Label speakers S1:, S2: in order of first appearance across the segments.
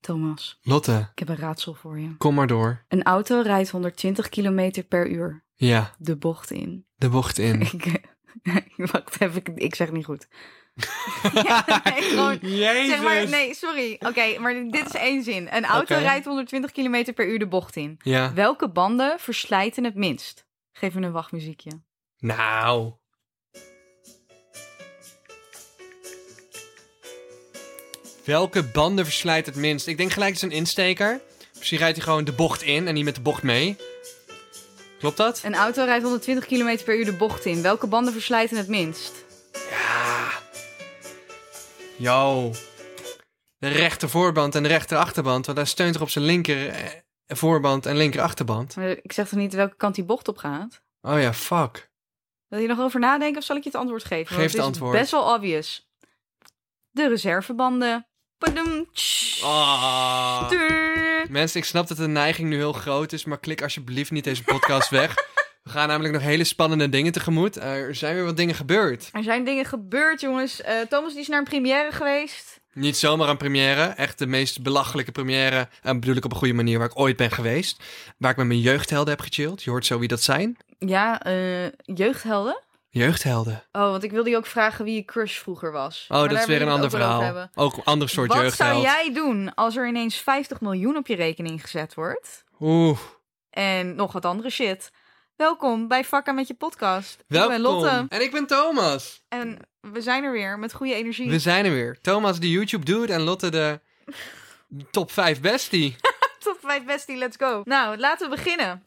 S1: Thomas,
S2: Lotte,
S1: ik heb een raadsel voor je.
S2: kom maar door.
S1: Een auto rijdt 120 km per uur
S2: Ja,
S1: de bocht in.
S2: de bocht in.
S1: Ik, eh, wacht even, ik, ik zeg het niet goed. nee, gewoon- Zeg maar, nee, sorry. Oké, maar dit is één zin. Een auto
S2: Oké.
S1: rijdt 120 km per uur de bocht in.
S2: Ja.
S1: Welke banden verslijten het minst? Geef me een wachtmuziekje.
S2: Nou. Welke banden verslijt het minst? Ik denk gelijk het is een insteker. Misschien rijdt hij gewoon de bocht in en niet met de bocht mee. Klopt dat?
S1: Een auto rijdt 120 km per uur de bocht in. Welke banden verslijten het minst?
S2: Ja. Yo. De rechter voorband en de rechter achterband. Want hij steunt toch op zijn linker eh, voorband en linker achterband.
S1: Maar Ik zeg toch niet welke kant die bocht op gaat?
S2: Oh ja, fuck.
S1: Wil je nog over nadenken of zal ik je het antwoord geven? Want
S2: Geef het
S1: is
S2: antwoord.
S1: Best wel obvious. De reservebanden. Padum, tsch,
S2: Ah.
S1: tuur.
S2: Mensen, ik snap dat de neiging nu heel groot is, maar klik alsjeblieft niet deze podcast weg. We gaan namelijk nog hele spannende dingen tegemoet. Er zijn weer wat dingen gebeurd.
S1: Er zijn dingen gebeurd, jongens. Eh, Thomas die is naar een première geweest.
S2: Niet zomaar een première, echt de meest belachelijke première, en bedoel ik op een goede manier, waar ik ooit ben geweest. Waar ik met mijn jeugdhelden heb gechilled. Je hoort zo wie dat zijn.
S1: Ja, eh, jeugdhelden.
S2: Jeugdhelden.
S1: Oh, want ik wilde je ook vragen wie je crush vroeger was.
S2: Oh,
S1: Maar
S2: dat
S1: daar
S2: is weer een
S1: wil ik
S2: ander
S1: het ook wel over
S2: verhaal.
S1: hebben.
S2: Ook een ander soort
S1: Wat
S2: jeugdheld.
S1: zou jij doen als er ineens 50 miljoen op je rekening gezet wordt?
S2: Oeh,
S1: En nog wat andere shit. Welkom bij Vakka met je podcast.
S2: welkom.
S1: Ik ben Lotte.
S2: En ik ben Thomas.
S1: En we zijn er weer met goede energie.
S2: We zijn er weer. Thomas de YouTube dude en Lotte de top 5 bestie.
S1: Top 5 bestie, let's go. Nou, laten we beginnen.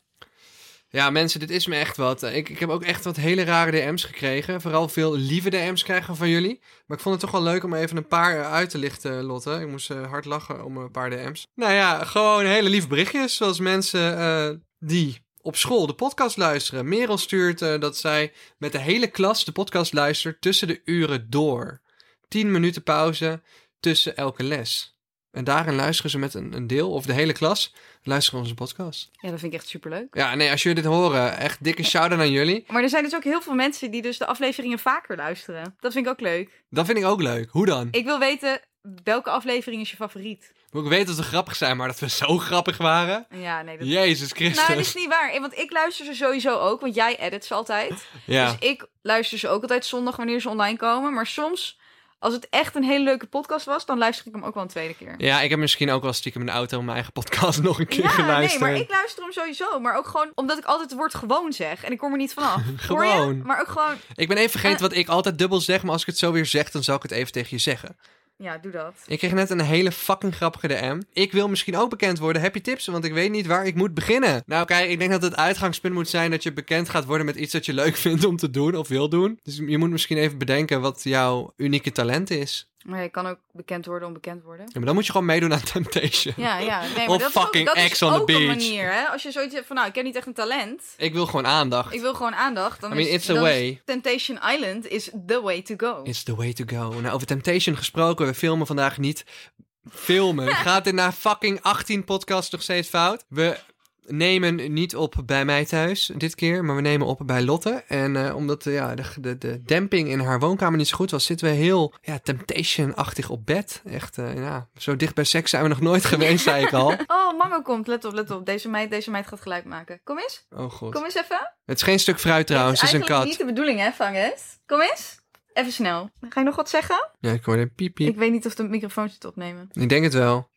S2: Ja, mensen, dit is me echt wat. Eh, Ik, ik heb ook echt wat hele rare DM's gekregen. Vooral veel lieve DM's krijgen we van jullie. Maar ik vond het toch wel leuk om even een paar eh, uit te lichten, Lotte. Ik moest eh, hard lachen om een paar DM's. Nou ja, gewoon hele lieve berichtjes. Zoals mensen eh, die op school de podcast luisteren. Merel stuurt eh, dat zij met de hele klas de podcast luistert tussen de uren door. 10 minuten pauze tussen elke les. En daarin luisteren ze met een, een deel, of de hele klas, luisteren onze podcast.
S1: Ja, dat vind ik echt superleuk.
S2: Ja, nee, als jullie dit horen, echt dikke shout-out aan jullie.
S1: Maar er zijn dus ook heel veel mensen die dus de afleveringen vaker luisteren. Dat vind ik ook leuk.
S2: Dat vind ik ook leuk. Hoe dan?
S1: Ik wil weten, welke aflevering is je favoriet?
S2: Ik weet dat we grappig zijn, maar dat we zo grappig waren.
S1: Ja, nee, dat...
S2: Jezus
S1: Nou, dat
S2: Christus.
S1: is niet waar. Eh, Want ik luister ze sowieso ook, want jij edit ze altijd.
S2: Ja,
S1: Dus ik luister ze ook altijd zondag wanneer ze online komen. Maar soms, als het echt een hele leuke podcast was, dan luister ik hem ook wel een tweede keer.
S2: ja ik heb misschien ook wel stiekem in de auto mijn eigen podcast nog een keer
S1: nee,
S2: geluisterd.
S1: maar ik luister hem sowieso. Maar ook gewoon omdat ik altijd het woord gewoon zeg. En ik kom er niet vanaf. Hoor je?
S2: Gewoon.
S1: Maar ook gewoon,
S2: Ik ben even
S1: Eh.
S2: vergeten wat ik altijd dubbel zeg, maar als ik het zo weer zeg, dan zal ik het even tegen je zeggen.
S1: ja, doe dat.
S2: Ik kreeg net een hele fucking grappige DM. Ik wil misschien ook bekend worden. Heb je tips? Want ik weet niet waar ik moet beginnen. Nou, kijk, ik denk dat het uitgangspunt moet zijn dat je bekend gaat worden met iets dat je leuk vindt om te doen of wil doen. Dus je moet misschien even bedenken wat jouw unieke talent is.
S1: Maar je kan ook bekend worden, onbekend worden.
S2: Ja, maar dan moet je gewoon meedoen aan Temptation.
S1: Ja, ja. Nee, maar
S2: Of
S1: dat
S2: fucking
S1: is ook, dat
S2: Ex
S1: is
S2: on the
S1: ook een
S2: Beach.
S1: manier, hè. Als je zoiets hebt van, nou, ik heb niet echt een talent.
S2: Ik wil gewoon aandacht.
S1: Ik wil gewoon aandacht. Dan
S2: I mean,
S1: is,
S2: it's the
S1: dan is
S2: way.
S1: Temptation Island is the way to go.
S2: It's the way to go. Nou, over Temptation gesproken, we filmen vandaag niet. Filmen. Gaat dit na fucking 18 podcasts nog steeds fout? We nemen niet op bij mij thuis dit keer, maar we nemen op bij Lotte. En eh, omdat eh, ja, de, de, de demping in haar woonkamer niet zo goed was, zitten we heel ja, Temptation-achtig op bed. Echt, eh, ja, zo dicht bij seks zijn we nog nooit geweest, zei ik al.
S1: Oh, Mango komt. Let op, let op. Deze meid, deze meid gaat geluid maken. Kom eens.
S2: Oh god.
S1: Kom eens even.
S2: Het is geen stuk fruit trouwens, het is een
S1: eigenlijk
S2: kat.
S1: niet de bedoeling, hè, Vanges? Kom eens. Even snel. Ga je nog wat zeggen?
S2: Ja, ik hoorde een piep piep.
S1: Ik weet niet of de microfoon zit opnemen.
S2: Ik denk het wel.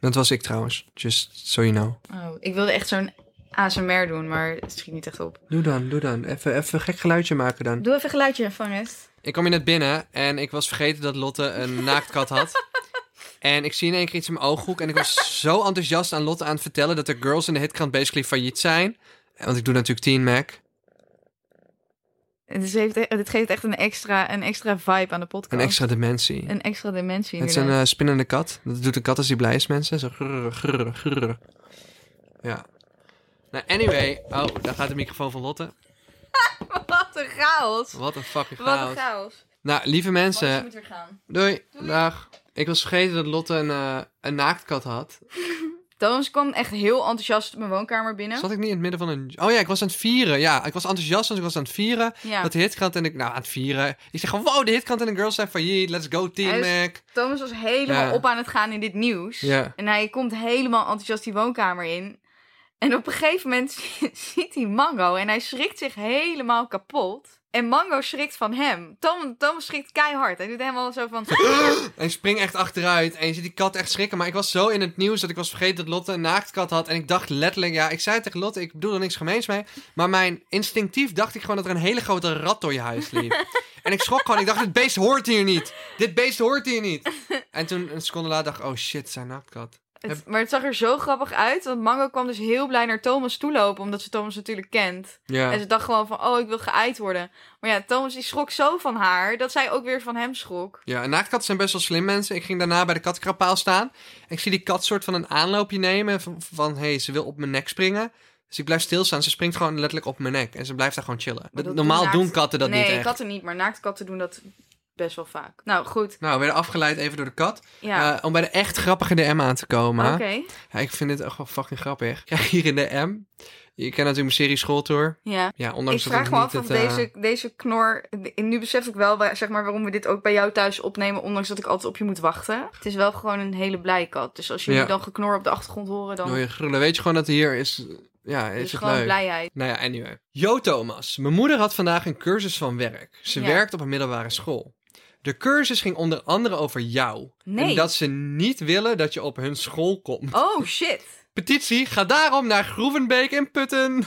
S2: Dat was ik trouwens. Just so you know.
S1: Oh, ik wilde echt zo'n ASMR doen, maar het schiet niet echt op.
S2: Doe dan, doe dan. Even, even een gek geluidje maken dan.
S1: Doe even een geluidje, Vanges.
S2: Ik kwam hier net binnen en ik was vergeten dat Lotte een naaktkat had. En ik zie in één keer iets in mijn ooghoek. En ik was zo enthousiast aan Lotte aan het vertellen dat de girls in de hitkrant basically failliet zijn. Want ik doe natuurlijk Teen Mac.
S1: Het, is- heeft, het geeft echt een extra, een extra vibe aan de podcast.
S2: Een extra dimensie.
S1: Een extra dimensie.
S2: Het is een
S1: Oh. inderdaad.
S2: eh, spinnende kat. Dat doet een kat als hij blij is, mensen. Zo grrr, grrr, grrr. Ja. Nou, anyway. Oh, daar gaat de microfoon van Lotte.
S1: Wat een chaos.
S2: Wat een fucking
S1: Wat een
S2: eh, chaos.
S1: chaos.
S2: Nou, lieve
S1: Wat
S2: mensen.
S1: moet weer gaan.
S2: Doei. Dag. Ik was vergeten dat Lotte een, eh, een naaktkat had.
S1: Thomas kwam echt heel enthousiast mijn woonkamer binnen.
S2: Zat ik niet in het midden van een... Oh ja, ik was aan het vieren. Ja, ik was enthousiast, dus ik was aan het vieren.
S1: Ja.
S2: Dat de hitkrant en ik... Nou, aan het vieren. Ik zeg gewoon, wow, de hitkrant en de girls zijn failliet. Let's go, Team
S1: Hij
S2: Mac.
S1: Thomas was helemaal
S2: Ja.
S1: op aan het gaan in dit nieuws.
S2: Ja.
S1: En hij komt helemaal enthousiast die woonkamer in. En op een gegeven moment ziet hij Mango en hij schrikt zich helemaal kapot. En Mango schrikt van hem. Tom, Thomas schrikt keihard. Hij doet helemaal zo van...
S2: En ik spring echt achteruit en je ziet die kat echt schrikken. Maar ik was zo in het nieuws dat ik was vergeten dat Lotte een naaktkat had. En ik dacht letterlijk, ja, ik zei tegen Lotte, ik bedoel er niks gemeens mee. Maar mijn instinctief dacht ik gewoon dat er een hele grote rat door je huis liep. en ik schrok gewoon, ik dacht, dit beest hoort hier niet. Dit beest hoort hier niet. En toen een seconde later dacht ik, oh shit, het is zijn naaktkat.
S1: Het- maar het zag er zo grappig uit. Want Mango kwam dus heel blij naar Thomas toe lopen. Omdat ze Thomas natuurlijk kent.
S2: Ja.
S1: En ze dacht gewoon van, oh, ik wil geëid worden. Maar ja, Thomas die schrok zo van haar, dat zij ook weer van hem schrok.
S2: Ja, en naaktkatten zijn best wel slim mensen. Ik ging daarna bij de katkrapaal staan. En ik zie die kat soort van een aanloopje nemen. Van, van hey, ze wil op mijn nek springen. Dus ik blijf stilstaan. Ze springt gewoon letterlijk op mijn nek. En ze blijft daar gewoon chillen.
S1: Maar dat
S2: Normaal
S1: naakt-
S2: doen katten dat
S1: nee,
S2: niet echt.
S1: katten niet, maar naaktkatten doen dat best wel vaak. Nou, goed.
S2: Nou, we werden afgeleid even door de kat.
S1: Ja,
S2: Eh, om bij de echt grappige DM aan te komen.
S1: oké.
S2: Ja, ik vind dit echt wel fucking grappig. Ik krijg hier in de M. Je kent natuurlijk mijn serie Schooltour.
S1: Ja.
S2: Ja,
S1: Ik
S2: ondanks dat
S1: vraag
S2: het
S1: me af
S2: niet
S1: of
S2: het, eh,
S1: deze, deze knor... Nu besef ik wel waar- zeg maar, waarom we dit ook bij jou thuis opnemen, ondanks dat ik altijd op je moet wachten. Het is wel gewoon een hele blij kat. Dus als jullie
S2: Ja.
S1: dan geknor op de achtergrond horen, dan
S2: door je grullen. Weet je gewoon dat hier is... Ja, is
S1: is
S2: het
S1: gewoon
S2: leuk.
S1: blijheid.
S2: Nou ja, anyway. Jo Thomas, mijn moeder had vandaag een cursus van werk. Ze
S1: Ja.
S2: werkt op een middelbare school. De cursus ging onder andere over jou.
S1: Nee.
S2: En dat ze niet willen dat je op hun school komt.
S1: Oh, shit.
S2: Petitie, ga daarom naar Groevenbeek in Putten.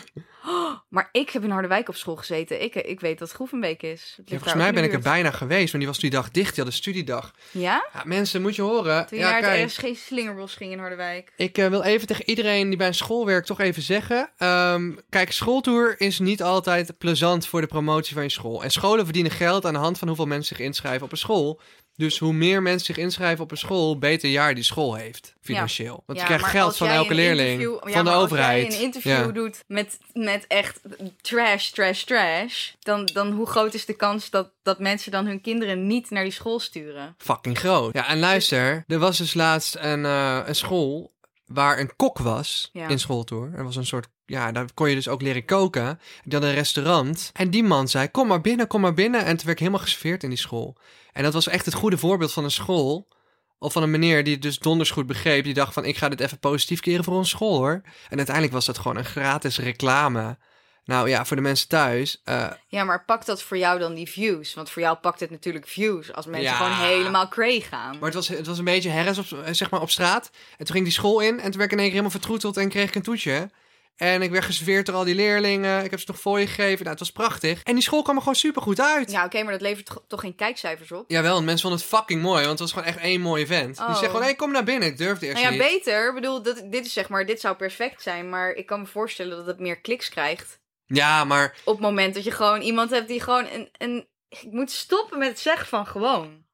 S1: Maar ik heb in Harderwijk op school gezeten. Ik, ik weet dat Groevenbeek is. Het ligt
S2: Ja,
S1: daar
S2: volgens
S1: ook
S2: mij
S1: in de
S2: ben ik er
S1: buurt.
S2: bijna geweest, want die was die dag dicht. Die had een studiedag.
S1: Ja?
S2: Ja, mensen, moet je horen.
S1: Toen je
S2: ja,
S1: naar
S2: kijk.
S1: het RSG Slingerbos ging in Harderwijk.
S2: Ik eh, wil even tegen iedereen die bij een school werkt toch even zeggen. ehm, kijk, schooltour is niet altijd plezant voor de promotie van je school. En scholen verdienen geld aan de hand van hoeveel mensen zich inschrijven op een school. Dus hoe meer mensen zich inschrijven op een school, beter jaar die school heeft financieel. Want je krijgt
S1: maar
S2: geld
S1: als
S2: van
S1: jij
S2: elke
S1: een
S2: leerling,
S1: interview- ja,
S2: van de
S1: maar
S2: overheid.
S1: Als jij een interview
S2: Ja.
S1: doet met, met echt trash, trash, trash. Dan, dan hoe groot is de kans dat, dat mensen dan hun kinderen niet naar die school sturen?
S2: Fucking groot. Ja, en luister, er was dus laatst een, eh, een school waar een kok was
S1: Ja.
S2: in schooltour. Er was een soort, ja, daar kon je dus ook leren koken. Die had een restaurant. En die man zei, kom maar binnen, kom maar binnen. En toen werd ik helemaal geserveerd in die school. En dat was echt het goede voorbeeld van een school... Of van een meneer die het dus donders goed begreep. Die dacht van, ik ga dit even positief keren voor onze school, hoor. En uiteindelijk was dat gewoon een gratis reclame. Nou ja, voor de mensen thuis. eh,
S1: Ja, maar pakt dat voor jou dan die views? Want voor jou pakt het natuurlijk views als mensen
S2: Ja.
S1: gewoon helemaal cray gaan.
S2: Maar het was, het was een beetje herres op, eh, zeg maar op straat. En toen ging die school in en toen werd ik in één keer helemaal vertroeteld en kreeg ik een toetje. En ik werd geserveerd door al die leerlingen. Ik heb ze nog voor je gegeven. Nou, het was prachtig. En die school kwam er gewoon supergoed uit.
S1: Ja, oké, maar dat levert toch- toch geen kijkcijfers op?
S2: Jawel, en mensen vonden het fucking mooi, want het was gewoon echt één mooie vent.
S1: Oh.
S2: Die zei gewoon, hé, kom naar binnen. Ik durfde eerst
S1: Nou ja,
S2: niet.
S1: beter. Ik bedoel, dat, dit, is zeg maar, dit zou perfect zijn. Maar ik kan me voorstellen dat het meer kliks krijgt.
S2: Ja, maar
S1: op het moment dat je gewoon iemand hebt die gewoon een. een ik moet stoppen met het zeggen van gewoon.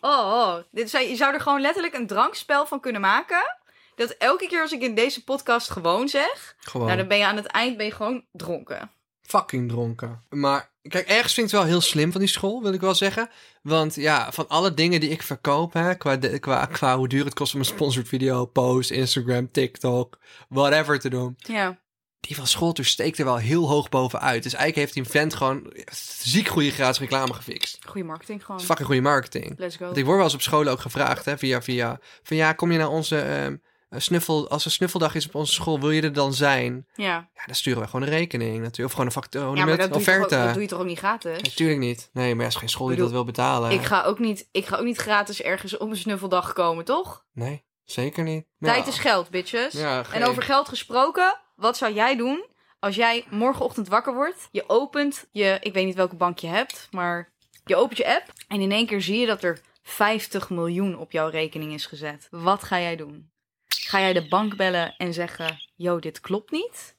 S1: Oh, oh. Dit zou, je zou er gewoon letterlijk een drankspel van kunnen maken. Dat elke keer als ik in deze podcast gewoon zeg.
S2: gewoon
S1: Nou, dan ben je aan het eind ben je gewoon dronken.
S2: fucking dronken. Maar kijk, ergens vind ik het wel heel slim van die school, wil ik wel zeggen. Want ja, van alle dingen die ik verkoop, hè, qua, de- qua, qua hoe duur het kost om een sponsored video, post, Instagram, TikTok, whatever te doen.
S1: Ja.
S2: die van Scholter steekt er wel heel hoog bovenuit. Dus eigenlijk heeft die vent gewoon ziek goede gratis reclame gefixt. Dat
S1: Goede marketing gewoon.
S2: is fucking goede marketing.
S1: Let's go.
S2: Want ik word wel eens op scholen ook gevraagd, hè, via, via, van ja, kom je naar onze ehm, eh, snuffel, als er snuffeldag is op onze school, wil je er dan zijn?
S1: Ja.
S2: Ja, dan sturen we gewoon een rekening natuurlijk. Of gewoon een fact- hoe
S1: ja,
S2: noem je
S1: maar
S2: het?
S1: dat doe, je toch ook,
S2: offerte.
S1: dat doe je toch ook niet gratis?
S2: Natuurlijk niet. Nee, maar er is geen school die
S1: Ik
S2: dat
S1: bedoel,
S2: wil betalen.
S1: Ik ga ook niet, ik ga ook niet gratis ergens op een snuffeldag komen, toch?
S2: Nee, zeker niet.
S1: Tijd is geld, bitches.
S2: Ja, geen-
S1: En over geld gesproken, wat zou jij doen als jij morgenochtend wakker wordt? Je opent je, ik weet niet welke bank je hebt, maar je opent je app en in één keer zie je dat er 50 miljoen op jouw rekening is gezet. Wat ga jij doen? Ga jij de bank bellen en zeggen: Yo, dit klopt niet?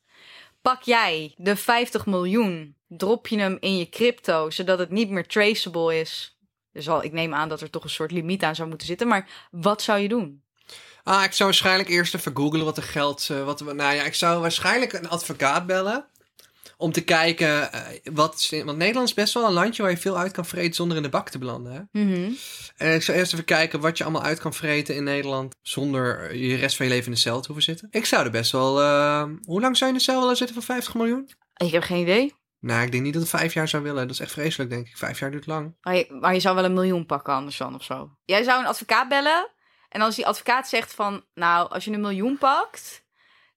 S1: Pak jij de 50 miljoen, drop je hem in je crypto, zodat het niet meer traceable is? Dus al, ik neem aan dat er toch een soort limiet aan zou moeten zitten, maar wat zou je doen?
S2: Ah, ik zou waarschijnlijk eerst even googlen wat er geld... eh, wat, nou ja, ik zou waarschijnlijk een advocaat bellen. Om te kijken eh, wat... is- Want Nederland is best wel een landje waar je veel uit kan vreten zonder in de bak te belanden. Hè?
S1: Mhm.
S2: En ik zou eerst even kijken wat je allemaal uit kan vreten in Nederland. Zonder eh, je rest van je leven in de cel te hoeven zitten. Ik zou er best wel... eh, hoe lang zou je in de cel willen zitten van 50 miljoen?
S1: Ik heb geen idee.
S2: Nou, ik denk niet dat het vijf jaar zou willen. Dat is echt vreselijk, denk ik. Vijf jaar duurt lang.
S1: Maar je, maar je zou wel een miljoen pakken anders dan of zo. Jij zou een advocaat bellen. En als die advocaat zegt van... Nou, als je een miljoen pakt...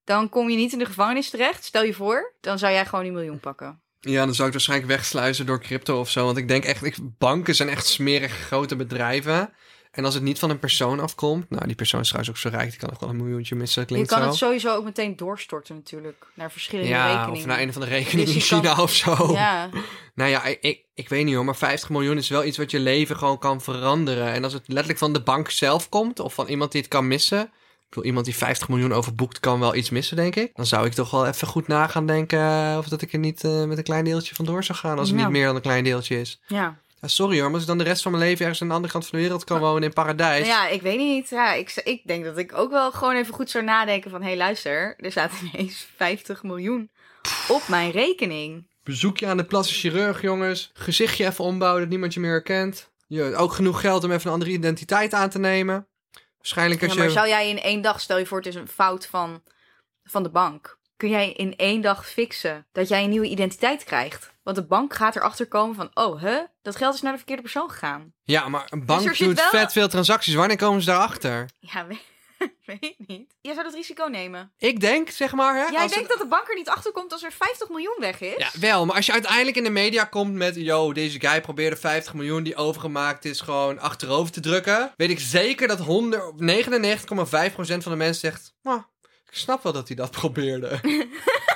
S1: Dan kom je niet in de gevangenis terecht. Stel je voor. Dan zou jij gewoon die miljoen pakken.
S2: Ja, dan zou ik waarschijnlijk wegsluizen door crypto of zo. Want ik denk echt, ik, banken zijn echt smerige grote bedrijven. En als het niet van een persoon afkomt. Nou, die persoon is trouwens ook zo rijk, die kan nog wel een miljoentje missen.
S1: Je
S2: Klinkt
S1: kan
S2: zo.
S1: het sowieso ook meteen doorstorten natuurlijk. Naar verschillende
S2: ja,
S1: rekeningen.
S2: of naar een van de rekeningen
S1: Dus
S2: in
S1: je kan-
S2: China of zo.
S1: Ja.
S2: Nou ja, ik- ik, ik weet niet hoor, maar 50 miljoen is wel iets wat je leven gewoon kan veranderen. En als het letterlijk van de bank zelf komt of van iemand die het kan missen. Ik bedoel, iemand die 50 miljoen overboekt kan wel iets missen, denk ik. Dan zou ik toch wel even goed na gaan denken of dat ik er niet eh, met een klein deeltje vandoor zou gaan als het
S1: Ja.
S2: niet meer dan een klein deeltje is.
S1: ja.
S2: Ja, sorry hoor, maar als ik dan de rest van mijn leven ergens aan de andere kant van de wereld kan wonen in paradijs.
S1: Nou ja, ik weet niet. Ja, ik, z- ik denk dat ik ook wel gewoon even goed zou nadenken van... Hé, hey, luister. Er staat ineens 50 miljoen op mijn rekening.
S2: Bezoekje aan de plastische chirurg, jongens. Gezichtje even ombouwen dat niemand je meer herkent. Je, ook genoeg geld om even een andere identiteit aan te nemen. Waarschijnlijk als
S1: Ja, maar
S2: je...
S1: zou jij in één dag, stel je voor, het is een fout van, van de bank. Kun jij in één dag fixen dat jij een nieuwe identiteit krijgt? Want de bank gaat erachter komen van, oh, hè, dat geld is naar de verkeerde persoon gegaan.
S2: Ja, maar een
S1: Dus er
S2: bank
S1: zit
S2: doet
S1: wel-
S2: vet veel transacties. Wanneer komen ze daarachter?
S1: Ja, we- weet ik niet. Jij zou dat risico nemen.
S2: Ik denk, zeg maar... Hè,
S1: jij
S2: als
S1: denkt
S2: het-
S1: dat de bank er niet achter komt als er 50 miljoen weg is?
S2: Ja, wel, maar als je uiteindelijk in de media komt met... Yo, deze guy probeerde 50 miljoen die overgemaakt is gewoon achterover te drukken. Weet ik zeker dat 100 99,5% van de mensen zegt... "Nou, ik snap wel dat hij dat probeerde.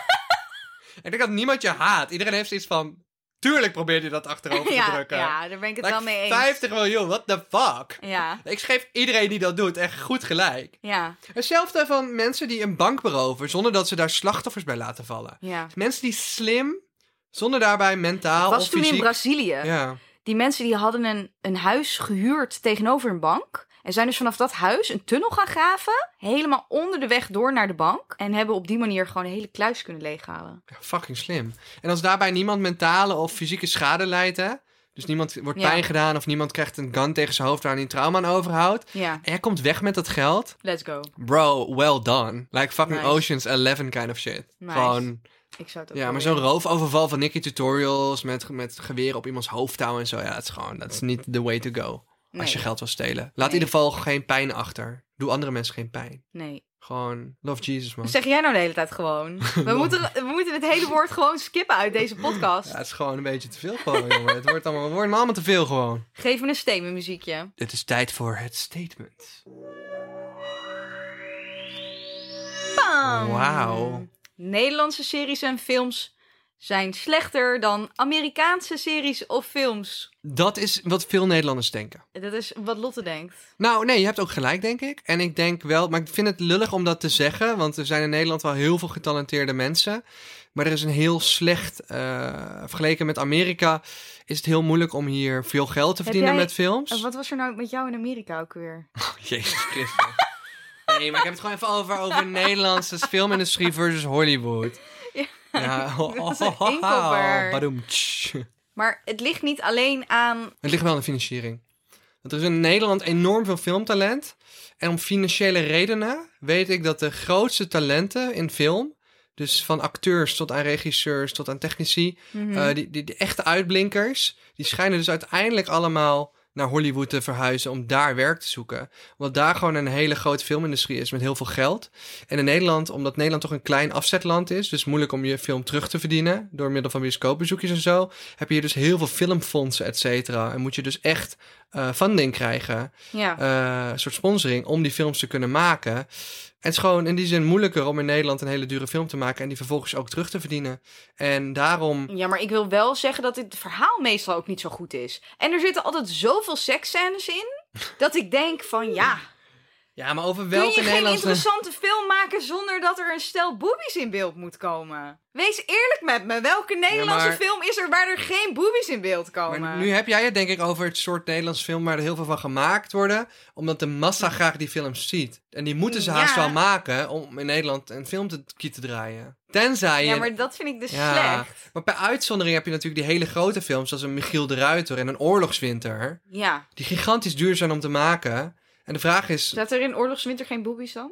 S2: ik denk dat niemand je haat. Iedereen heeft iets van... Tuurlijk probeerde hij dat achterover te
S1: ja,
S2: drukken.
S1: ja, daar ben ik het
S2: Like,
S1: wel mee eens.
S2: 50 miljoen, what the fuck?
S1: Ja,
S2: Ik schreef iedereen die dat doet echt goed gelijk.
S1: ja,
S2: Hetzelfde van mensen die een bank beroven zonder dat ze daar slachtoffers bij laten vallen.
S1: ja.
S2: Mensen die slim, zonder daarbij mentaal
S1: was
S2: of
S1: toen
S2: fysiek...
S1: in Brazilië.
S2: Ja.
S1: Die mensen die hadden een, een huis gehuurd tegenover een bank. En zijn dus vanaf dat huis een tunnel gaan graven. Helemaal onder de weg door naar de bank. En hebben op die manier gewoon een hele kluis kunnen leeghalen.
S2: Ja, fucking slim. En als daarbij niemand mentale of fysieke schade leidt, hè? Dus niemand wordt
S1: Ja.
S2: pijn gedaan of niemand krijgt een gun tegen zijn hoofd waar hij een trauma aan overhoudt.
S1: Ja,
S2: En jij komt weg met dat geld.
S1: let's go.
S2: Bro, well done. Like fucking
S1: Nice.
S2: Ocean's 11 kind of shit.
S1: Nice.
S2: Gewoon,
S1: Ik zou het ook
S2: ja,
S1: wel
S2: maar zo'n
S1: willen.
S2: roofoverval van Nicky Tutorials met, met geweren op iemands hoofd houden en zo. Ja, dat is gewoon, dat is niet the way to go. Als je
S1: Nee,
S2: geld wil stelen. Laat
S1: Nee.
S2: in ieder geval geen pijn achter. Doe andere mensen geen pijn.
S1: nee.
S2: Gewoon, love Jesus, man.
S1: Wat zeg jij nou de hele tijd gewoon? We moeten, we moeten het hele woord gewoon skippen uit deze podcast.
S2: Ja, het is gewoon een beetje te veel gewoon, jongen. Het wordt allemaal, het wordt me allemaal te veel gewoon.
S1: Geef me een stem muziekje.
S2: Het is tijd voor het statement.
S1: Bam!
S2: Wauw.
S1: Nederlandse series en films zijn slechter dan Amerikaanse series of films.
S2: Dat is wat veel Nederlanders denken.
S1: Dat is wat Lotte denkt.
S2: Nou, nee, je hebt ook gelijk, denk ik. En ik denk wel, maar ik vind het lullig om dat te zeggen, want er zijn in Nederland wel heel veel getalenteerde mensen. Maar er is een heel slecht, eh, vergeleken met Amerika, is het heel moeilijk om hier veel geld te
S1: Heb
S2: verdienen
S1: jij-
S2: met films.
S1: En wat was er nou met jou in Amerika ook weer?
S2: Oh, Jezus Christus. Nee, maar ik heb het gewoon even over, over Nederlandse filmindustrie versus Hollywood.
S1: Ja,
S2: ja.
S1: dat is een inkopper.
S2: Badoem, tsch.
S1: Maar het ligt niet alleen aan.
S2: Het ligt wel aan de financiering. Want er is in Nederland enorm veel filmtalent. En om financiële redenen weet ik dat de grootste talenten in film... dus van acteurs tot aan regisseurs tot aan technici... eh, die, die, die echte uitblinkers... die schijnen dus uiteindelijk allemaal naar Hollywood te verhuizen... om daar werk te zoeken. Omdat daar gewoon een hele grote filmindustrie is met heel veel geld. En in Nederland, omdat Nederland toch een klein afzetland is... dus moeilijk om je film terug te verdienen... door middel van bioscoopbezoekjes en zo heb je hier dus heel veel filmfondsen, et cetera. En moet je dus echt eh funding krijgen,
S1: Ja.
S2: eh, een soort sponsoring, om die films te kunnen maken. En het is gewoon in die zin moeilijker om in Nederland een hele dure film te maken en die vervolgens ook terug te verdienen. En daarom,
S1: ja, maar ik wil wel zeggen dat dit verhaal meestal ook niet zo goed is. En er zitten altijd zoveel seksscènes in eh. dat ik denk van ja.
S2: Ja, maar over
S1: Kun
S2: welke
S1: je geen
S2: Nederlandse...
S1: interessante film maken zonder dat er een stel boobies in beeld moet komen? Wees eerlijk met me. Welke Nederlandse
S2: maar-
S1: film is er waar er geen boobies in beeld komen?
S2: Maar nu heb jij het denk ik over het soort Nederlands film waar er heel veel van gemaakt worden. Omdat de massa graag die films ziet. En die moeten ze haast
S1: Mm, Ja.
S2: wel maken om in Nederland een film te, te draaien. Tenzij je...
S1: Ja, maar dat vind ik dus
S2: Ja.
S1: slecht.
S2: Maar bij uitzondering heb je natuurlijk die hele grote films zoals een Michiel de Ruiter en een Oorlogswinter.
S1: Ja.
S2: Die gigantisch duur zijn om te maken. En de vraag is,
S1: Staat er in Oorlogswinter geen boobies dan?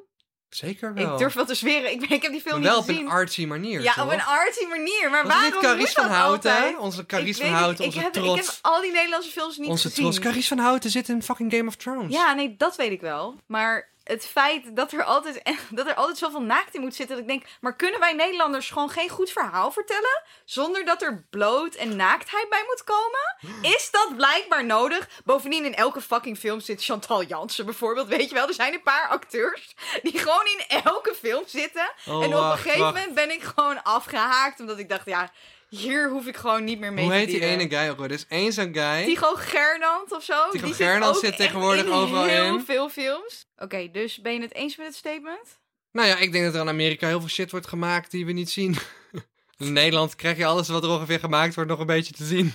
S2: zeker wel.
S1: Ik durf wel te zweren. Ik, ben- ik heb die
S2: maar
S1: film
S2: wel
S1: niet
S2: op een
S1: gezien.
S2: artsy manier,
S1: ja,
S2: toch?
S1: op een artsy manier. Maar
S2: Was het
S1: waarom
S2: niet Carice
S1: moet
S2: van
S1: dat
S2: Houten?
S1: altijd?
S2: Onze
S1: Ik
S2: Carice
S1: weet
S2: van
S1: het,
S2: Houten, onze
S1: ik heb,
S2: trots.
S1: Ik heb al die Nederlandse films niet
S2: onze
S1: gezien.
S2: trots. Carice van Houten zit in fucking Game of Thrones.
S1: Ja, nee, dat weet ik wel. Maar het feit dat er altijd, dat er altijd zoveel naakt in moet zitten. Dat ik denk, maar kunnen wij Nederlanders gewoon geen goed verhaal vertellen? Zonder dat er bloot en naaktheid bij moet komen? Is dat blijkbaar nodig? Bovendien, in elke fucking film zit Chantal Jansen bijvoorbeeld. Weet je wel, er zijn een paar acteurs die gewoon in elke film zitten.
S2: Oh,
S1: en op een
S2: wacht,
S1: gegeven
S2: wacht.
S1: moment ben ik gewoon afgehaakt. Omdat ik dacht, ja, hier hoef ik gewoon niet meer mee
S2: Hoe
S1: te
S2: heet die
S1: dealen.
S2: ene guy ook? wel? Er is één zo'n guy.
S1: Tycho Gernand of zo.
S2: Tycho
S1: die zit,
S2: Gernand
S1: ook
S2: zit
S1: echt
S2: tegenwoordig
S1: in
S2: overal
S1: heel
S2: in.
S1: veel films. Oké, dus ben je het eens met het statement?
S2: Nou ja, ik denk dat er in Amerika heel veel shit wordt gemaakt die we niet zien. in Nederland krijg je alles wat er ongeveer gemaakt wordt nog een beetje te zien.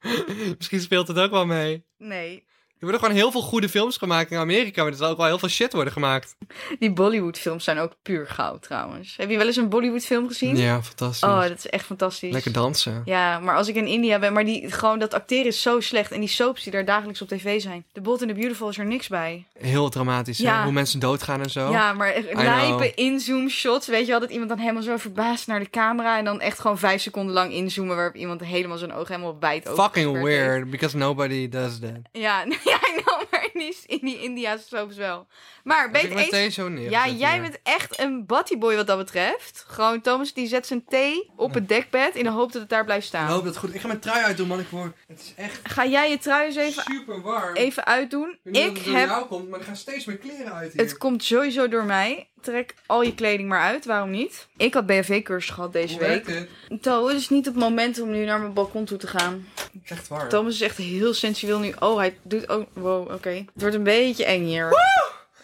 S2: Misschien speelt het ook wel mee.
S1: Nee.
S2: Er worden gewoon heel veel goede films gemaakt in Amerika, maar er zal ook wel heel veel shit worden gemaakt.
S1: Die Bollywood-films zijn ook puur goud trouwens. Heb je wel eens een Bollywood-film gezien?
S2: Ja, fantastisch.
S1: Oh, dat is echt fantastisch.
S2: Lekker dansen.
S1: Ja, maar als ik in India ben, maar die, gewoon dat acteren is zo slecht. En die soaps die daar dagelijks op tv zijn. The Bold and the Beautiful is er niks bij.
S2: Heel dramatisch, hè?
S1: Ja.
S2: hoe mensen doodgaan en zo.
S1: Ja, maar
S2: Oh. know.
S1: lijpe inzoomshots. Weet je wel, dat iemand dan helemaal zo verbaasd naar de camera. En dan echt gewoon vijf seconden lang inzoomen. Waarop iemand helemaal zijn oog helemaal bijt open.
S2: Fucking weird, because nobody does that.
S1: Ja, nee, ja, ik know, maar in die, in die India's soaps wel. Maar
S2: Als
S1: ben je
S2: ik
S1: het
S2: mijn
S1: eens...
S2: thee zo neer.
S1: Ja, jij bent echt een buddyboy wat dat betreft. Gewoon, Thomas die zet zijn thee op het dekbed in de hoop dat het daar blijft
S2: Ik
S1: staan.
S2: hoop dat goed. Ik ga mijn trui uitdoen, man. Ik word... Het is echt
S1: Ga jij je trui eens even,
S2: super warm.
S1: even uitdoen?
S2: weet niet of
S1: Ik
S2: het door
S1: heb...
S2: jou komt, maar er gaan steeds meer kleren uit hier.
S1: Het komt sowieso door mij. Trek al je kleding maar uit, waarom niet? Ik had BHV-cursus gehad deze
S2: Hoe werkt
S1: week.
S2: dit?
S1: Toe, het is niet het moment om nu naar mijn balkon toe te gaan.
S2: Het is echt warm.
S1: Thomas is echt heel sensueel nu. Oh, hij doet ook... Wow, oké. Het wordt een beetje eng hier.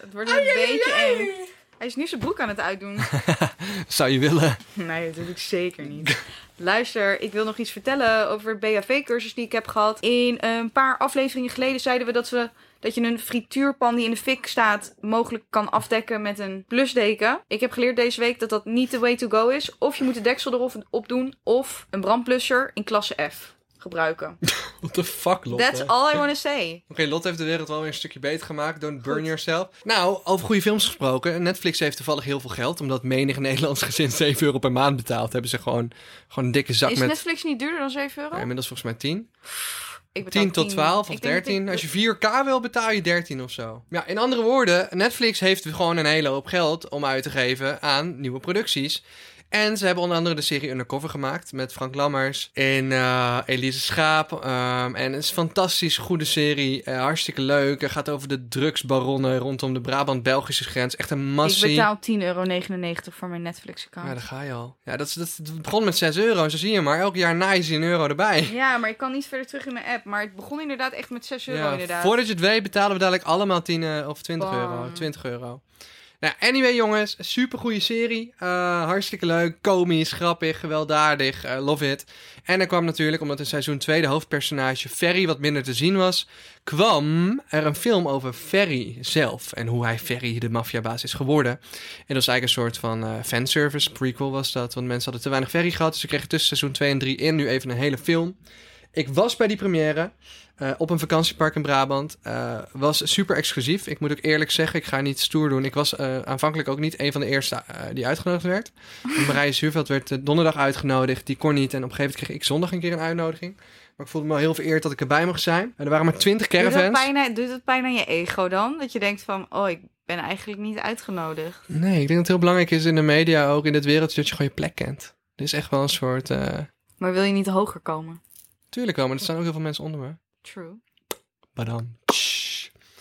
S1: Het wordt een beetje eng. Hij is nu zijn broek aan het uitdoen.
S2: Zou je willen?
S1: Nee, dat doe ik zeker niet. Luister, ik wil nog iets vertellen over BHV-cursus die ik heb gehad. In een paar afleveringen geleden zeiden we dat, ze, dat je een frituurpan die in de fik staat... mogelijk kan afdekken met een blusdeken. Ik heb geleerd deze week dat dat niet de way to go is. Of je moet de deksel erop op doen... of een brandblusser in klasse F gebruiken.
S2: What the fuck, Lotte?
S1: That's all I want to say.
S2: Oké, Lot heeft de wereld wel weer een stukje beter gemaakt. Don't burn yourself. Nou, over goede films gesproken. Netflix heeft toevallig heel veel geld. Omdat menig Nederlands gezin 7 euro per maand betaalt. Hebben ze gewoon, gewoon een dikke zak
S1: Is
S2: met...
S1: Netflix niet duurder dan 7 euro?
S2: nou, inmiddels volgens mij 10.
S1: Ik betaal
S2: 10 tot 12 of
S1: Ik denk dat ik-
S2: 13. Als je 4K wil, betaal je 13 of zo. Ja, in andere woorden, Netflix heeft gewoon een hele hoop geld om uit te geven aan nieuwe producties. En ze hebben onder andere de serie Undercover gemaakt met Frank Lammers en eh, Elise Schaap. ehm, en het is een fantastisch goede serie. eh, hartstikke leuk. Het gaat over de drugsbaronnen rondom de Brabant-Belgische grens. Echt een massie.
S1: Ik betaal 10,99 euro voor mijn
S2: Ja,
S1: Netflix-account.
S2: daar ga je al. Ja, dat, is- dat, het begon met 6 euro. Zo zie je maar. Elk jaar naai je een euro erbij.
S1: Ja, maar ik kan niet verder terug in mijn app. Maar het begon inderdaad echt met 6 euro
S2: Ja,
S1: inderdaad.
S2: Voordat je het weet betalen we dadelijk allemaal 10 eh, of 20
S1: Bam.
S2: euro. 20 euro. Nou, anyway jongens, super goede serie. Eh, hartstikke leuk, komisch, grappig, gewelddadig, eh, love it. En er kwam natuurlijk, omdat in seizoen 2 de hoofdpersonage Ferry wat minder te zien was, kwam er een film over Ferry zelf en hoe hij Ferry de maffiabaas is geworden. En dat was eigenlijk een soort van eh, fanservice, prequel was dat, want mensen hadden te weinig Ferry gehad, dus ze kregen tussen seizoen 2 en 3 in nu even een hele film. Ik was bij die première, eh, op een vakantiepark in Brabant. Eh, was super exclusief. Ik moet ook eerlijk zeggen, ik ga niet stoer doen. Ik was eh, aanvankelijk ook niet een van de eerste eh, die uitgenodigd werd. Marije Zuurveld werd eh, donderdag uitgenodigd. Die kon niet. En op een gegeven moment kreeg ik zondag een keer een uitnodiging. Maar ik voelde me wel heel vereerd dat ik erbij mocht zijn. En er waren maar twintig
S1: doet, dat
S2: caravans.
S1: pijn aan, doet dat pijn aan je ego dan? Dat je denkt van, oh, ik ben eigenlijk niet uitgenodigd.
S2: Nee, ik denk dat het heel belangrijk is in de media, ook in dit wereldje, dat je gewoon je plek kent. Er is echt wel een soort... eh,
S1: Maar wil je niet hoger komen?
S2: Tuurlijk wel, maar er staan ook heel veel mensen onder me.
S1: True.
S2: Badam.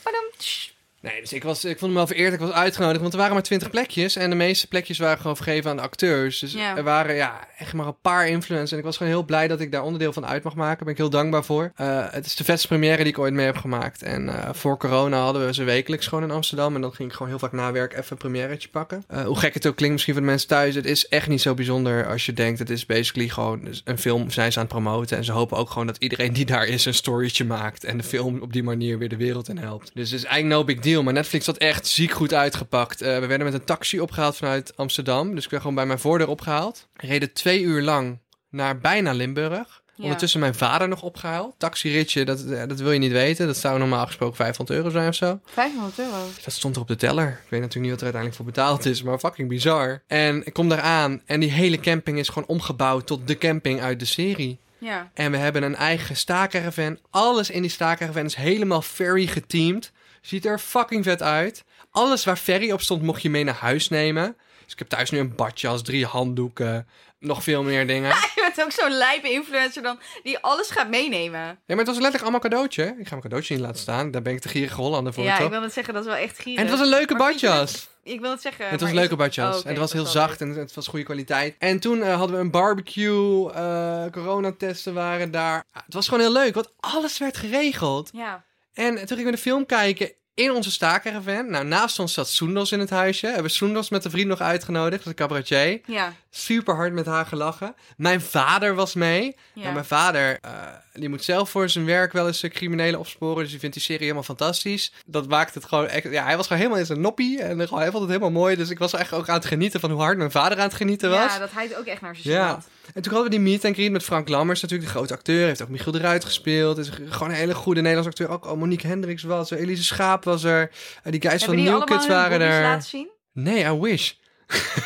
S1: Maar dan... tss,
S2: Nee, dus ik, was, ik vond me wel vereerd. Ik was uitgenodigd, want er waren maar twintig plekjes. En de meeste plekjes waren gewoon vergeven aan de acteurs. Dus
S1: Ja.
S2: er waren ja, echt maar een paar influencers. En ik was gewoon heel blij dat ik daar onderdeel van uit mag maken. Daar ben ik heel dankbaar voor. Eh, het is de vetste première die ik ooit mee heb gemaakt. En eh, voor corona hadden we ze wekelijks gewoon in Amsterdam. En dan ging ik gewoon heel vaak na werk even een premièretje pakken. Eh, hoe gek het ook klinkt misschien voor de mensen thuis. Het is echt niet zo bijzonder als je denkt. Het is basically gewoon een film zijn ze aan het promoten. En ze hopen ook gewoon dat iedereen die daar is een storytje maakt. En de film op die manier weer de wereld in helpt. Dus het is eigenlijk no big deal. Maar Netflix had echt ziek goed uitgepakt. Eh, we werden met een taxi opgehaald vanuit Amsterdam. Dus ik werd gewoon bij mijn voordeur opgehaald. Reden twee uur lang naar bijna Limburg.
S1: Ja.
S2: Ondertussen mijn vader nog opgehaald. Taxiritje, dat, eh, dat wil je niet weten. Dat zou normaal gesproken 500 euro zijn of zo.
S1: 500 euro.
S2: Dat stond er op de teller. Ik weet natuurlijk niet wat er uiteindelijk voor betaald is, maar fucking bizar. En ik kom daar aan en die hele camping is gewoon omgebouwd tot de camping uit de serie.
S1: Ja.
S2: En we hebben een eigen staakcaravan. Alles in die staakcaravan is helemaal ferry geteamd. Ziet er fucking vet uit. Alles waar ferry op stond mocht je mee naar huis nemen. Dus ik heb thuis nu een badjas, drie handdoeken, nog veel meer dingen.
S1: Je bent ook zo'n lijpe influencer dan die alles gaat meenemen.
S2: Ja, maar het was letterlijk allemaal cadeautje. Ik ga mijn cadeautje niet laten staan. Daar ben ik te gierige Hollander voor,
S1: ja,
S2: toch?
S1: ik wil het zeggen, dat is wel echt gierig.
S2: En het was een leuke
S1: Maar vind je
S2: badjas.
S1: Ik wil het zeggen.
S2: Het was
S1: maar
S2: een
S1: is
S2: leuke badjas.
S1: Oh,
S2: En
S1: oké,
S2: het was
S1: dat
S2: heel
S1: is wel
S2: zacht en het was goede kwaliteit. En toen eh, hadden we een barbecue. eh coronatesten waren daar. Ah, het was gewoon heel leuk, want alles werd geregeld.
S1: leuk. Ja.
S2: En toen gingen we de film kijken in onze staakcaravan. Nou, naast ons zat Soendos in het huisje. Hebben we Soendos met een vriend nog uitgenodigd, de cabaretier.
S1: Ja.
S2: Super hard met haar gelachen. Mijn vader was mee.
S1: ja.
S2: Nou, mijn vader, eh, die moet zelf voor zijn werk wel eens eh, criminelen opsporen. Dus die vindt die serie helemaal fantastisch. Dat maakt het gewoon echt... Ja, hij was gewoon helemaal in zijn noppie. En gewoon, hij vond het helemaal mooi. Dus ik was echt ook aan het genieten van hoe hard mijn vader aan het genieten was.
S1: Ja, dat hij het ook echt naar zijn zin
S2: Ja.
S1: had.
S2: En toen hadden we die meet en greet met Frank Lammers, natuurlijk de grote acteur. Heeft ook Michiel de Ruit gespeeld. Is gewoon een hele goede Nederlandse acteur. Ook oh, Monique Hendricks was er. Elise Schaap was er. eh, die guys
S1: Hebben
S2: van
S1: die allemaal
S2: Newkids
S1: hun
S2: waren
S1: boobies
S2: er.
S1: laten zien?
S2: Nee, I wish.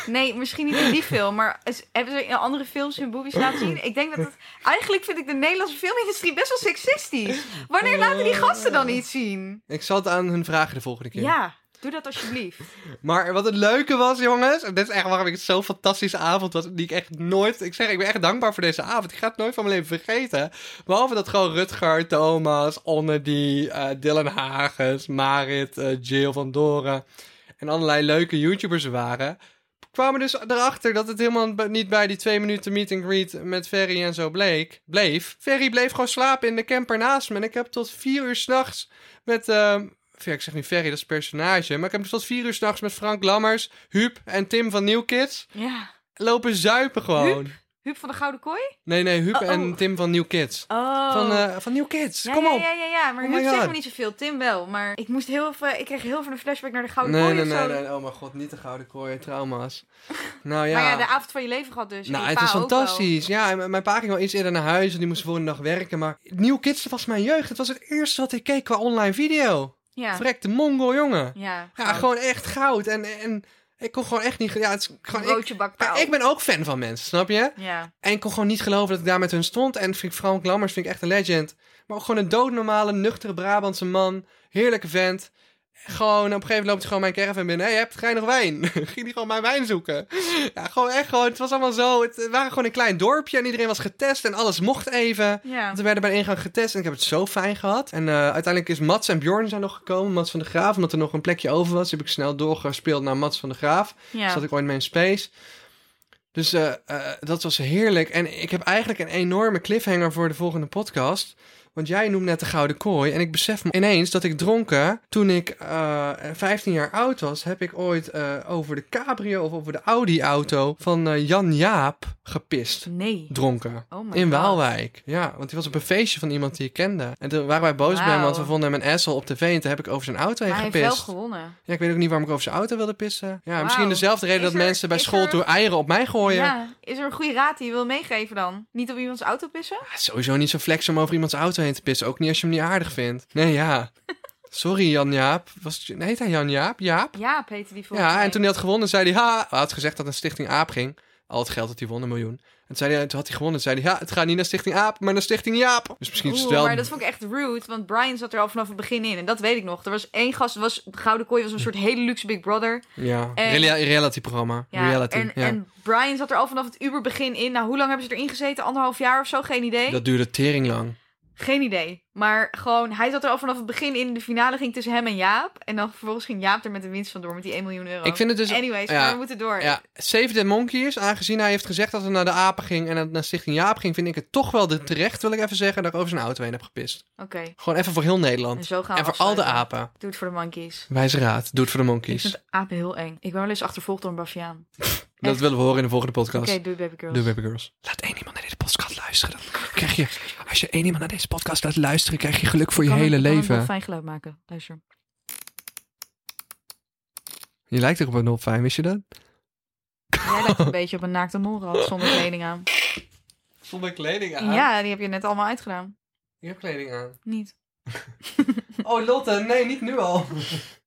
S1: Nee, misschien niet in die film, maar is- hebben ze in andere films hun boobies laten zien? Ik denk dat het... Eigenlijk vind ik de Nederlandse filmindustrie best wel seksistisch.
S2: Oh.
S1: Wanneer laten die gasten dan iets zien?
S2: Ik zal het aan hun vragen de volgende keer.
S1: Ja, doe dat alsjeblieft.
S2: Maar wat het leuke was, jongens. en Dit is echt waarom ik het zo'n fantastische avond was. Die ik echt nooit. Ik zeg, ik ben echt dankbaar voor deze avond. Ik ga het nooit van mijn leven vergeten. Behalve dat gewoon Rutger, Thomas, Onnedi, eh, Dylan Hagens, Marit, eh, Jill van Doren. En allerlei leuke YouTubers er waren. Kwamen dus erachter dat het helemaal b- niet bij die twee minuten meet and greet met Ferry en zo bleek, bleef. Ferry bleef gewoon slapen in de camper naast me. En ik heb tot vier uur s'nachts met, ehm, ja, ik zeg niet Ferry, dat is personage. Maar ik heb tot vier uur s'nachts met Frank Lammers, Huub en Tim van New Kids
S1: Ja.
S2: lopen zuipen gewoon.
S1: Huub van de Gouden Kooi?
S2: Nee, nee, Huub
S1: Oh, oh.
S2: en Tim van New Kids.
S1: Oh.
S2: Van, eh, van New Kids,
S1: ja,
S2: kom
S1: ja,
S2: op.
S1: Ja, ja, ja, maar
S2: Oh my
S1: Huub zegt
S2: God.
S1: me niet zoveel. Tim wel, maar ik moest heel even... Ik kreeg heel veel een flashback naar de Gouden
S2: Nee,
S1: Kooi
S2: nee,
S1: of
S2: nee,
S1: zo.
S2: nee, oh mijn god, niet de gouden kooi, trauma's. Nou ja.
S1: Maar ja, de avond van je leven gehad dus.
S2: Nou,
S1: En je
S2: het is
S1: pa ook wel.
S2: fantastisch. Ja, en m- mijn pa ging wel iets eerder naar huis en die moest de volgende dag werken. Maar New Kids was mijn jeugd. Het was het eerste wat ik keek qua online video.
S1: Ja.
S2: Vrek, de mongo, jongen.
S1: Ja.
S2: Ja, gewoon echt goud. En, en ik kon gewoon echt niet... Ja, het is gewoon... Ik,
S1: Broodje
S2: Kijk,
S1: bakpaal.
S2: ik ben ook fan van mensen, snap je?
S1: Ja.
S2: En ik kon gewoon niet geloven dat ik daar met hun stond. En vind ik Frank Lammers vind ik echt een legend. Maar ook gewoon een doodnormale, nuchtere Brabantse man. Heerlijke vent. Gewoon, op een gegeven moment loopt hij gewoon mijn caravan binnen. Hé, hey, heb jij nog wijn? Ging hij gewoon mijn wijn zoeken. Ja, gewoon echt gewoon. Het was allemaal zo. Het waren gewoon een klein dorpje en iedereen was getest en alles mocht even.
S1: Ja.
S2: Want we werden bij de ingang getest en ik heb het zo fijn gehad. En eh, uiteindelijk is Mats en Bjorn zijn nog gekomen. Mats van de Graaf, omdat er nog een plekje over was. Heb ik snel doorgespeeld naar Mats van de Graaf.
S1: Ja.
S2: Zat ik ooit mee in Space. Dus eh, eh, dat was heerlijk. En ik heb eigenlijk een enorme cliffhanger voor de volgende podcast. Want jij noemt net de Gouden Kooi. En ik besef me ineens dat ik dronken, toen ik eh, 15 jaar oud was, heb ik ooit eh, over de cabrio of over de Audi-auto van eh, Jan Jaap gepist.
S1: Nee.
S2: Dronken.
S1: Oh my
S2: In
S1: God.
S2: Waalwijk. Ja, want die was op een feestje van iemand die ik kende. En toen waren wij boos bij hem,
S1: Wauw.
S2: want we vonden hem een asshole op tv. En toen heb ik over zijn auto heen
S1: Maar hij heeft
S2: gepist.
S1: wel gewonnen.
S2: Ja, ik weet ook niet waarom ik over zijn auto wilde pissen. Ja,
S1: Wauw.
S2: misschien dezelfde reden
S1: Is
S2: dat
S1: er-
S2: mensen bij
S1: is
S2: school
S1: er-
S2: toen eieren op mij gooien.
S1: Ja, is er een goede raad die je wil meegeven dan? Niet op iemands auto pissen?
S2: Ja, Ah, Sowieso niet zo flex om over iemands auto heen te pissen. Ook niet als je hem niet aardig vindt. Nee, ja. Sorry, Jan-Jaap. Was het, heet hij Jan-Jaap? Jaap?
S1: Ja, Peter die volgens
S2: Ja,
S1: mij.
S2: en toen hij had gewonnen, zei hij... Ha! Hij had gezegd dat het naar Stichting Aap ging. Al het geld dat hij won, een miljoen. En toen, zei hij, toen had hij gewonnen, zei hij... Ha, het gaat niet naar Stichting Aap, maar naar Stichting Jaap. Dus misschien is het
S1: Oeh,
S2: wel...
S1: maar dat vond ik echt rude, want Brian zat er al vanaf het begin in. En dat weet ik nog. Er was één gast, het was, de Gouden Kooi was een soort hele luxe Big Brother.
S2: Ja,
S1: En-
S2: Reali- reality-programma.
S1: Ja,
S2: reality,
S1: en,
S2: ja.
S1: en Brian zat er al vanaf het uberbegin in. Nou, hoe lang hebben ze erin gezeten? Anderhalf jaar of zo? Geen idee.
S2: Dat duurde tering lang.
S1: Geen idee. Maar gewoon, hij zat er al vanaf het begin in. De finale ging tussen hem en Jaap. En dan vervolgens ging Jaap er met een winst vandoor met die 1 miljoen euro.
S2: Ik vind het dus...
S1: Anyways,
S2: ja.
S1: maar we moeten door.
S2: Ja, Save the Monkeys, aangezien hij heeft gezegd dat het naar de apen ging en naar Stichting Jaap ging, vind ik het toch wel de terecht, wil ik even zeggen, dat ik over zijn auto heen heb gepist.
S1: Oké.
S2: Gewoon even voor heel
S1: En
S2: Nederland.
S1: zo gaan we
S2: En voor al de
S1: afsluiten.
S2: apen.
S1: Doe het voor de monkeys.
S2: Wijze raad, doe het voor de
S1: Ik
S2: monkeys.
S1: vind apen heel eng. Ik ben wel eens achtervolgd door een baviaan.
S2: Dat
S1: echt.
S2: willen we horen in de volgende
S1: Oké,
S2: podcast.
S1: doe baby girls.
S2: Doe Baby Girls. Laat één iemand naar deze podcast luisteren. Dan krijg je, als je één iemand naar deze podcast laat luisteren, krijg je geluk voor je
S1: Kan een-
S2: hele
S1: kan een
S2: leven.
S1: dolfijn geluid maken. Luister.
S2: Je lijkt erop een dolfijn, wist je dat?
S1: Jij lijkt een beetje op een naakte molrat zonder kleding aan.
S2: Zonder kleding
S1: Ja, die heb je net allemaal uitgedaan.
S2: Je hebt kleding aan.
S1: Niet.
S2: Oh, Lotte, nee, niet nu al.